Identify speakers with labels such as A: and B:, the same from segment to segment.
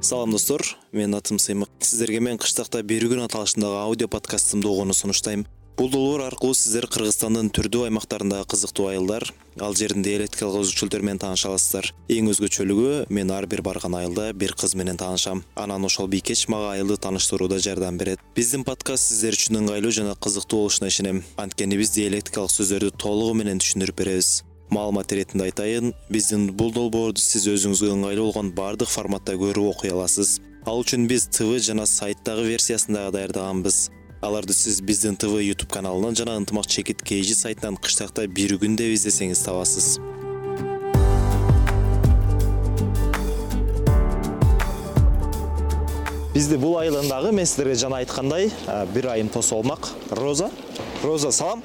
A: салам достор менин атым сыймык сиздерге мен кыштакта бир күн аталышындагы аудио подкастымды угууну сунуштайм бул долбоор аркылуу сиздер кыргызстандын түрдүү аймактарындагы кызыктуу айылдар ал жердин диалектикалык өзгөчөлүктөрү менен тааныша аласыздар эң өзгөчөлүгү мен ар бир барган айылда бир кыз менен таанышам анан ошол бийкеч мага айылды тааныштырууда жардам берет биздин подкаст сиздер үчүн ыңгайлуу жана кызыктуу болушуна ишенем анткени биз диалектикалык сөздөрдү толугу менен түшүндүрүп беребиз маалымат иретинде айтайын биздин бул долбоорду сиз өзүңүзгө ыңгайлуу болгон баардык форматта көрүп окуй аласыз ал үчүн биз тв жана сайттагы версиясында даярдаганбыз аларды сиз биздин тв youtube каналынан жана ынтымак чекит kg сайтынан кыштакта бир күн деп издесеңиз табасыз бизди бул айылындагы мен сиздерге жана айткандай бир айым тосуп алмак роза роза салам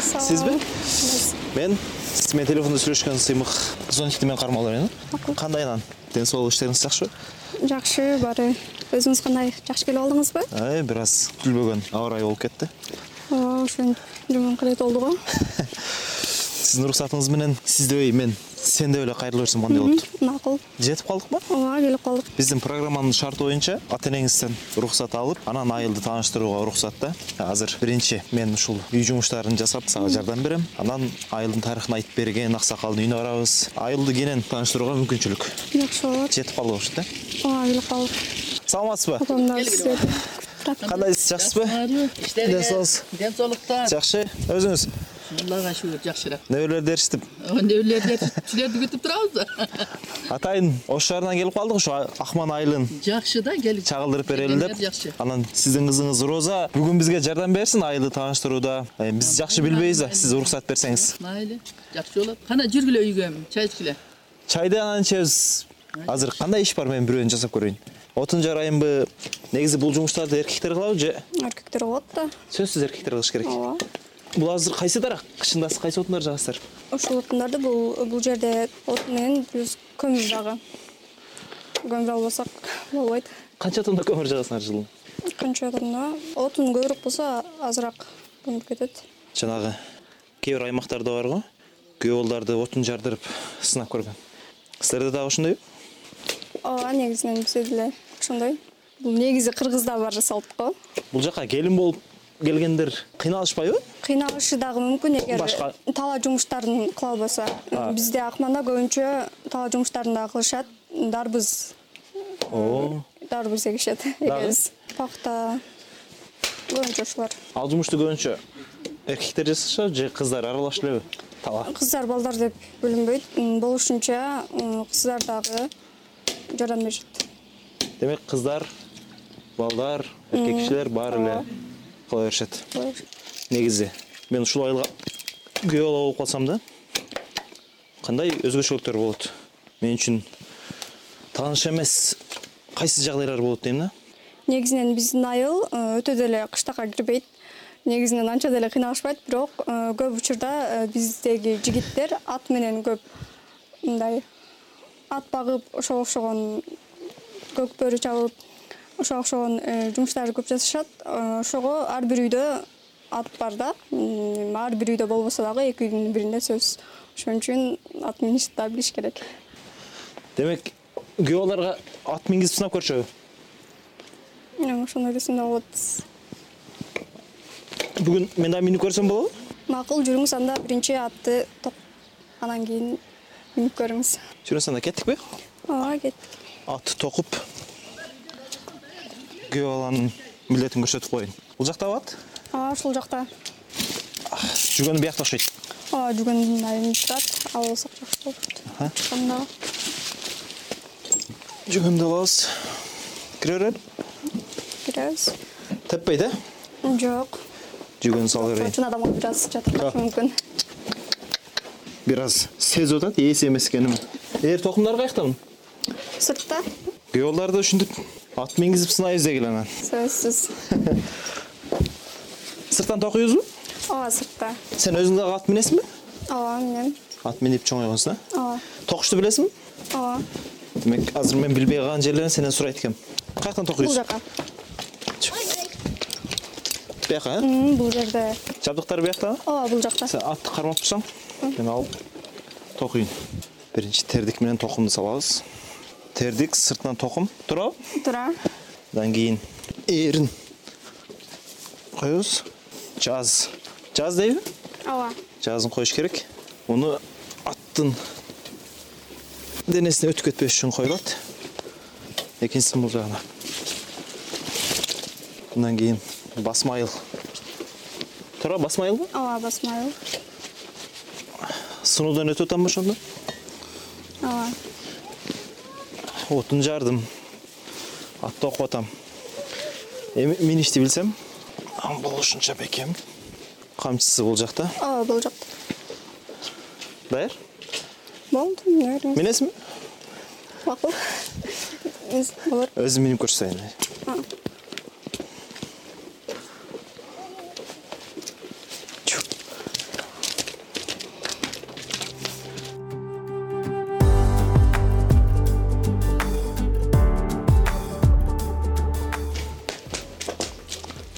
A: сизби мен сиз менен телефондо сүйлөшкөн сыймык зонтикти мен кармап алам э
B: Макул.
A: кандай анан ден соолук иштериңиз жакшыбы
B: жакшы баары өзүңүз кандай жакшы келип алдыңызбы
A: ай бир аз күлбөгөн аба ырайы болуп кетти
B: Ооба, ошентип жуманкалет болду го
A: сиздин уруксатыңыз менен сиз дебей мен сен деп эле кайрыла берсем кандай болот
B: макул
A: жетип калдыкпы
B: ооба келип калдык
A: биздин программанын шарты боюнча ата энеңизден уруксат алып анан айылды тааныштырууга уруксат да азыр биринчи мен ушул үй жумуштарын жасап сага жардам берем анан айылдын тарыхын айтып берген аксакалдын үйүнө барабыз айылды кенен тааныштырууга мүмкүнчүлүк
B: жакшы болот
A: жетип калды окшойт э
B: ооба келип калдык
A: саламатсызбы
B: апамдар сизди күтүп атат
A: кандайсыз жакшысызбы
C: иштериңиз
A: Ден соолугуңуз.
C: ден соолуктан
A: жакшы өзүңүз
C: аллага шүгүр жакшыраак
A: неберелерди ээрчитип
C: неберелерди силерди күтүп турабыз да
A: атайын ош шаарынан келип калдык ушу А- акман айылын
C: жакшы да келип
A: чагылдырып берели
C: Келгендер жакшы.
A: деп анан сиздин кызыңыз роза бүгүн бизге жардам берсин айылды тааныштырууда Э, биз жакшы билбейбиз да сиз уруксат берсеңиз
C: майлы жакшы болот кана жүргүлө үйгө эми чай ичкиле
A: чайды анан ичебиз азыр кандай иш бар мен бирөөнү жасап көрөйүн отун жарайынбы негизи бул жумуштарды эркектер кылабы же
B: эркектер болот да
A: сөзсүз эркектер кылыш керек
B: ооба
A: бул азыр кайсы дарак кышындасы кайсы отундар жагасыздар
B: ушул отундарды бул бул жерде от менен плюс көмүр дагы көмүр албасак болбойт
A: канча тонна көмүр жагасыңар жылына
B: канча тонна отун көбүрөөк болсо азыраак көмүлүп кетет
A: жанагы кээ бир аймактарда бар го күйөө балдарды отун жардырып сынап көргөн силерде дагы ошондойбу
B: ооба негизинен бизде деле ошондой бул негизи кыргызда бар жасалат го
A: бул жака келин болуп келгендер кыйналышпайбы
B: кыйналышы дагы мүмкүн эгер
A: Башка-
B: талаа жумуштарын кыла албаса бизде акманда көбүнчө талаа жумуштарын дагы кылышат дарбыз
A: О,
B: дарбыз эгишет
A: Дагы?
B: эгебиз пахта көбүнчө ушулар
A: ал жумушту көбүнчө эркектер жасашабы же кыздар аралаш элеби талаа
B: кыздар балдар деп бөлүнбөйт М, болушунча м, кыздар дагы жардам беришет
A: демек кыздар балдар эркек кишилер баары эле кыла беришет негизи мен ушул айылга күйөө бала болуп калсам да кандай өзгөчөлүктөр болот мен үчүн тааныш эмес кайсы жагдайлар болот дейм да
B: негизинен биздин айыл э, өтө деле кыштакка кирбейт негизинен анча деле кыйналышпайт бирок э, көп учурда э, биздеги жигиттер ат менен көп мындай ат багып ошого окшогон көк бөрү чабып ошого окшогон э, жумуштарды көп жасашат Э, ошого ар бир үйдө ат бар да М, ар бир үйдө болбосо дагы эки үйдүн биринде сөзсүз ошон үчүн ат миништи да билиш керек
A: демек күйөө балдарга ат мингизип сынап көрүшөбү
B: Э, ошондой эле сынап алат
A: бүгүн мен дагы минип көрсөм болобу
B: макул жүрүңүз анда биринчи атты топ анан кийин минип көрүңүз
A: жүрүңүз анда кеттикпи
B: ооба кеттик
A: атты токуп күйөө баланын билетин көрсөтүп коеюн бул жактабы ат
B: ооба ушул жакта
A: жүргөнү биякта окшойт
B: ооба жүгөн айылында турат ала алсак жакшы болот
A: Аха.
B: анда
A: жүгөмдү алабыз кире берели
B: киребиз
A: теппейт э
B: жок
A: жүгөнү сала берейин
B: чын адамга бир аз жатыркашы мүмкүн
A: бир аз сезип атат ээси эмес экенин ээр токумдар каякта мунун
B: сыртта
A: күйөө балдарды ушинтип ат мингизип сынайбыз дегиле анан
B: сөзсүз
A: сырттан токуйбузбу
B: ооба сыртта
A: сен өзүң дагы ат минесиңби
B: ооба менем
A: ат минип чоңойгонсуң э
B: ооба
A: токушту билесиңби
B: ооба
A: демек азыр мен билбей калган жерлерин сенден сурайт экенмин каяктан
B: бул
A: токуйсуз
B: жака
A: бияка э
B: М, бул жерде
A: жабдыктар биякта
B: ооба бул жакта
A: сен атты кармап турсаң мен алып токуйюн биринчи тердик менен токумду салабыз тердик сыртынан токум туурабы
B: тура
A: андан кийин ээрин коебуз жаз жаз дейби
B: ооба
A: жазын коюш керек муну аттын денесине өтүп кетпеш үчүн коюлат экинчисин бул жагына мындан кийин басмайыл туура басмайылбы
B: ооба басмайыл
A: сынуудан өтүп атамбы ошондо
B: ооба
A: отун жардым атты окуп атам эми мен ишти билсем ам бул ушунча бекем камчысы бул жакта
B: ооба бул жакта
A: даяр
B: болду наверное
A: менесиңби
B: макул Биз болор
A: өзүм минип көрсөтайын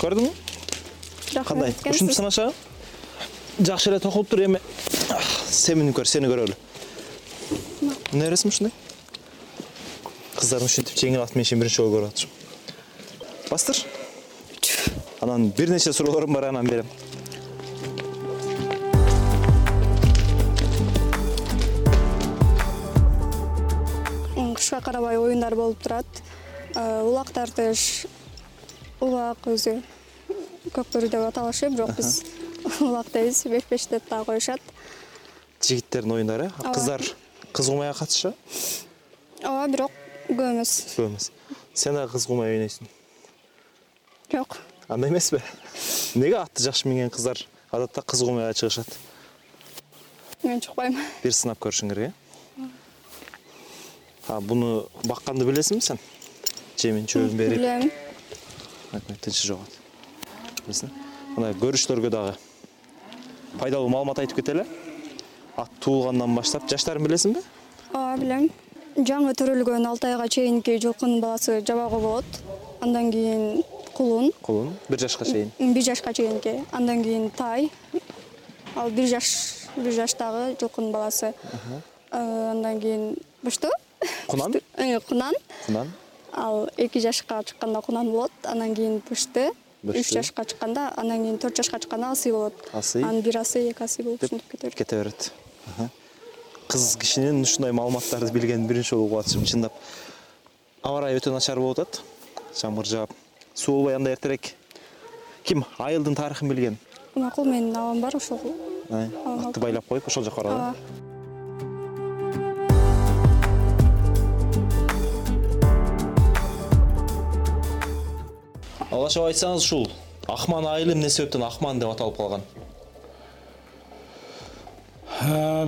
A: көрдүңбү кандай ушинтип сынашабы жакшы эле токулуп тур эми Ах, сен мени көр сени көрөлү мына бересиңби ушундай кыздардын ушинтип жеңил ат мен ишин биринчи жолу көрүп атышым бастыр анан бир нече суроолорум бар анан берем
B: кышка карабай оюндар болуп турат Э, улак тартыш улак өзү көк бөрү деп аталышы бирок биз улак дейбиз бекпеш деп дагы коюшат
A: жигиттердин оюндары а
B: Ооба.
A: кыздар кыз кумайга катышчу
B: ооба бирок көп эмес
A: көп эмес сен дагы кыз кумай ойнойсуң
B: жок
A: анда эмеспи эмнеге атты жакшы минген кыздар адатта кыз кумайга чыгышат
B: мен чукпайм
A: бир сынап көрүшүң керек э а буну бакканды билесиңби сен жемин чөбүн берип
B: билем
A: Айтмай, тынчы жоғады білесің мына көрушілерге дағы пайдалуу маалымат айтып кетели ат туулгандан баштап жаштарын билесиңби
B: ооба билем жаңы төрөлгөн алты айга чейинки жылкынын баласы жабууга болот андан кийин кулун
A: кулун бир жашка чейин
B: бир жашка чейинки андан кийин тай ал бир жаш бир жаштагы жылкынын баласы Э, андан кийин бышту
A: Кунан?
B: Э, кунан
A: кунан
B: ал эки жашка чыкканда кунан болот андан кийин бышты
A: Бышты.
B: үч жашка чыкканда андан кийин төрт жашка чыкканда асый болот
A: Асый.
B: анан бир асый эки асый болуп ушинтип кете берет
A: кете берет Аха. кыз кишинин ушундай маалыматтарды билгенин биринчи жолу угуп атышым чындап аба ырайы өтө начар болуп атат жамгыр жаап суу болбой анда эртерээк ким айылдын тарыхын билген
B: макул менин абам бар ошол
A: Ай,
B: Ага.
A: атты байлап коюп ошол жака баралы э?
B: ооба
A: алашап айтсаңыз ушул акман айылы эмне себептен акман деп аталып калган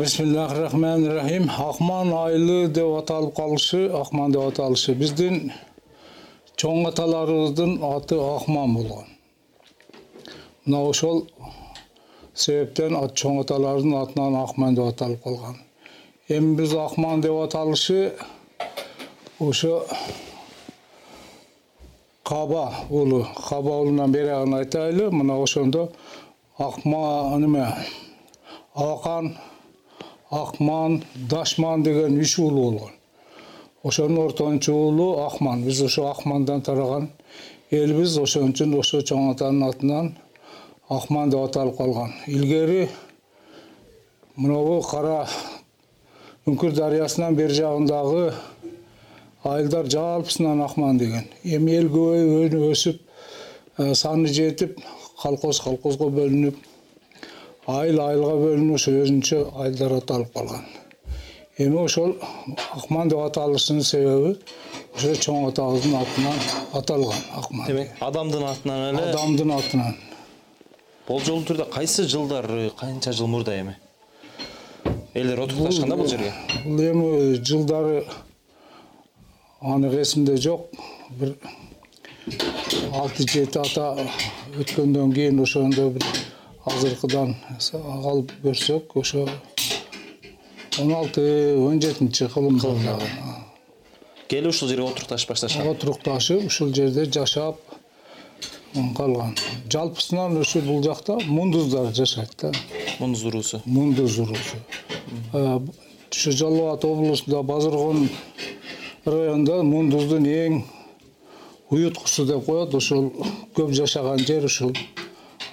D: бисмиллахи акман айылы деп аталып калышы акман деп аталышы биздин чоң аталарыбыздын аты акман болгон мына ошол себептен ат- чоң аталарыбыздын атынан акман деп аталып калган эми биз акман деп аталышы ошо каба уулу каба уулунан берагын айтайлы мына ошондо акма неме абакан акман дашман деген үч уулу болгон ошонун ортончу уулу акман биз ошо акмандан тараган элбиз ошон үчүн ошо чоң атанын атынан акман деп аталып калган илгери мынабу кара үңкүр дарыясынан бери жагындагы айылдар жалпысынан акман деген эми эл көбөйүп өнү- өсүп э, саны жетип колхоз колхозго бөлүнүп айыл айылга бөлүнүп ошо өзүнчө айылдар аталып калган эми ошол акман деп аталышынын себеби ошо чоң атабыздын атынан аталган акман
A: демек адамдын атынан эле
D: адамдын атынан
A: болжолдуу түрдө кайсы жылдары канча жыл мурда эми элдер отукташкан да бул жерге
D: бул эми жылдары анык эсимде жок бир алты жети ата өткөндөн кийин ошондо бир азыркыдан алып көрсөк ошо он алты он жетинчи кылымда
A: келип ушул жерге отурукташ башташкан
D: отурукташып ушул жерде жашап калган жалпысынан ушу бул жакта мундуздар жашайт да
A: мундуз уруусу
D: мундуз уруусу ушу жалал абад облусунда базаргон районда мундуздун эң уюткусу деп коет ушул көп жашаган жер ушул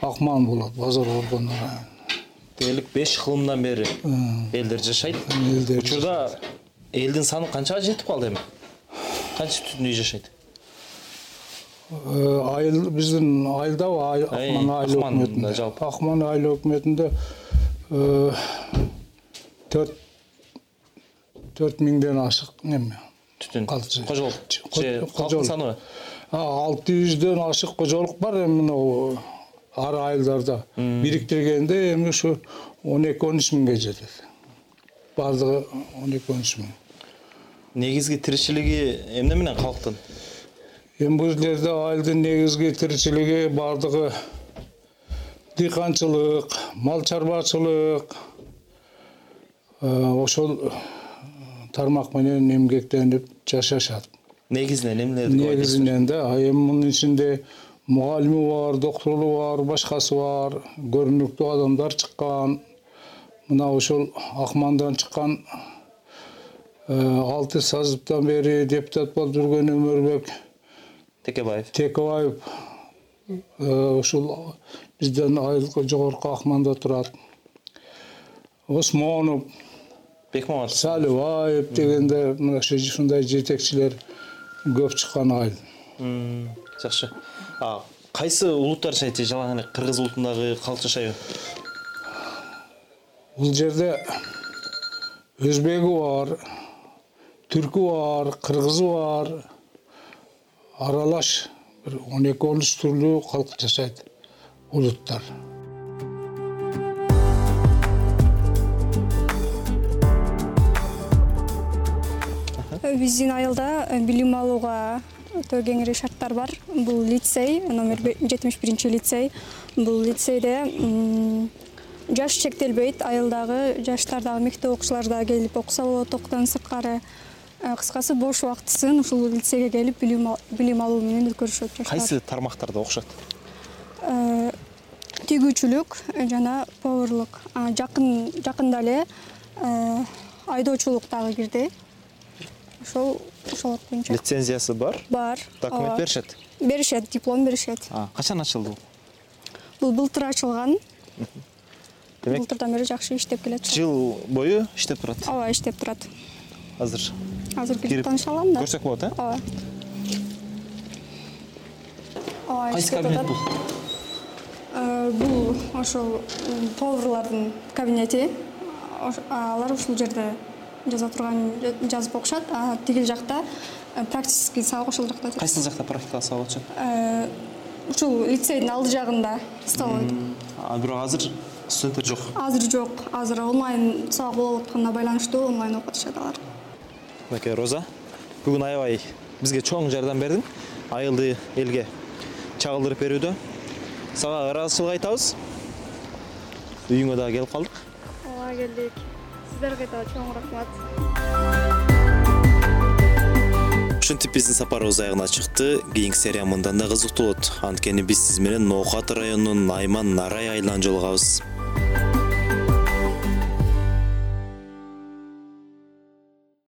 D: акман болот базар горгон району
A: элек беш кылымдан бери элдер жашайт
D: Элдер
A: учурда элдин саны канчага жетип калды эми канча бүтүн үй жашайт
D: Э, айыл биздин айылда ай-
A: Ай,
D: акман айыл
A: Акман
D: өкмөтүндө
A: жалпы.
D: акман айыл өкмөтүндө э, төрт төрт миңден ашык неме
A: түтүн
D: Калчы.
A: кожолук
D: Ч-
A: же
D: кожолук.
A: калктын саныбы
D: а алты жүздөн ашык кожолук бар эми мына ар айылдарда бириктиргенде эми ушу он эки он үч миңге жетет баардыгы он эки он үч миң
A: негизги тиричилиги эмне менен калктын
D: эми бул жерде айылдын негизги тиричилиги баардыгы дыйканчылык мал чарбачылык э, ошол тармак менен эмгектенип жашашат
A: негизинен эмнелерди көп айтасыз?
D: негизинен да а эми мунун ичинде мугалими бар доктуру бар башкасы бар көрүнүктүү адамдар чыккан мына ошол акмандан чыккан э, алты созывтан бери депутат болуп жүргөн өмөрбек
A: текебаев
D: текебаев э, ушул бизден айылкы жогорку акманда турат осмонов
A: бекмаматов
D: салыбаев дегендер мына ушу ушундай жетекчилер көп чыккан айыл
A: Мм, жакшы а кайсы улуттар жашайт же жалаң эле кыргыз улутундагы калк жашайбы
D: бул жерде өзбеги бар түркү бар кыргызы бар аралаш бир он эки он үч түрлүү калк жашайт улуттар
B: биздин айылда э, билим алууга өтө кеңири шарттар бар бул лицей номер жетимиш биринчи лицей бул лицейде м, жаш чектелбейт айылдагы жаштар дагы мектеп окуучулары да келип окуса болот окуудан сырткары Э, кыскасы бош убактысын ушул лицейге келип билим ал- билим алуу менен өткөрүшөт жаштар
A: кайсы тармактарда окшошот
B: Э, тигүүчүлүк э, жана поварлык А, жакын жакында эле э, айдоочулук дагы кирди ошол ошол боюнча
A: лицензиясы бар
B: бар
A: документ
B: ооба.
A: беришет
B: беришет диплом беришет
A: А, качан ачылды бул
B: бул былтыр ачылган
A: Демек-
B: былтырдан бери жакшы иштеп келет
A: жыл бою иштеп турат
B: ооба иштеп турат
A: азыр
B: азыр
A: Кирип
B: кирип таныша алам да
A: көрсөк болот э
B: ооба ооба
A: кайсы
B: иштеп
A: кабинет
B: атат
A: бул
B: Э, бул ошол м, поварлардын кабинети Ош- алар ушул жерде жаза турган жа- жазып окушат а тигил жакта э, практический сабак ошол жакта өтөт
A: кайсыл жакта практика сабак атышат
B: Э, ушул лицейдин алды жагында столовой
A: а бирок азыр студенттер жок
B: азыр жок азыр онлайн сабак болуп атканына байланыштуу онлайн окуп атышат алар
A: мінекей роза бүгін аябай бізге чоң жардам бердің айылды елге чагылдырып берүүдө сага ыраазычылык айтабыз үйүңө дагы келип калдык
B: ооба келдик сиздерге да чоң рахмат
A: ушинтип биздин сапарыбыз аягына чыкты кийинки серия мындан да кызыктуу болот анткени биз сиз менен ноокат районунун айман нарай айылынан жолугабыз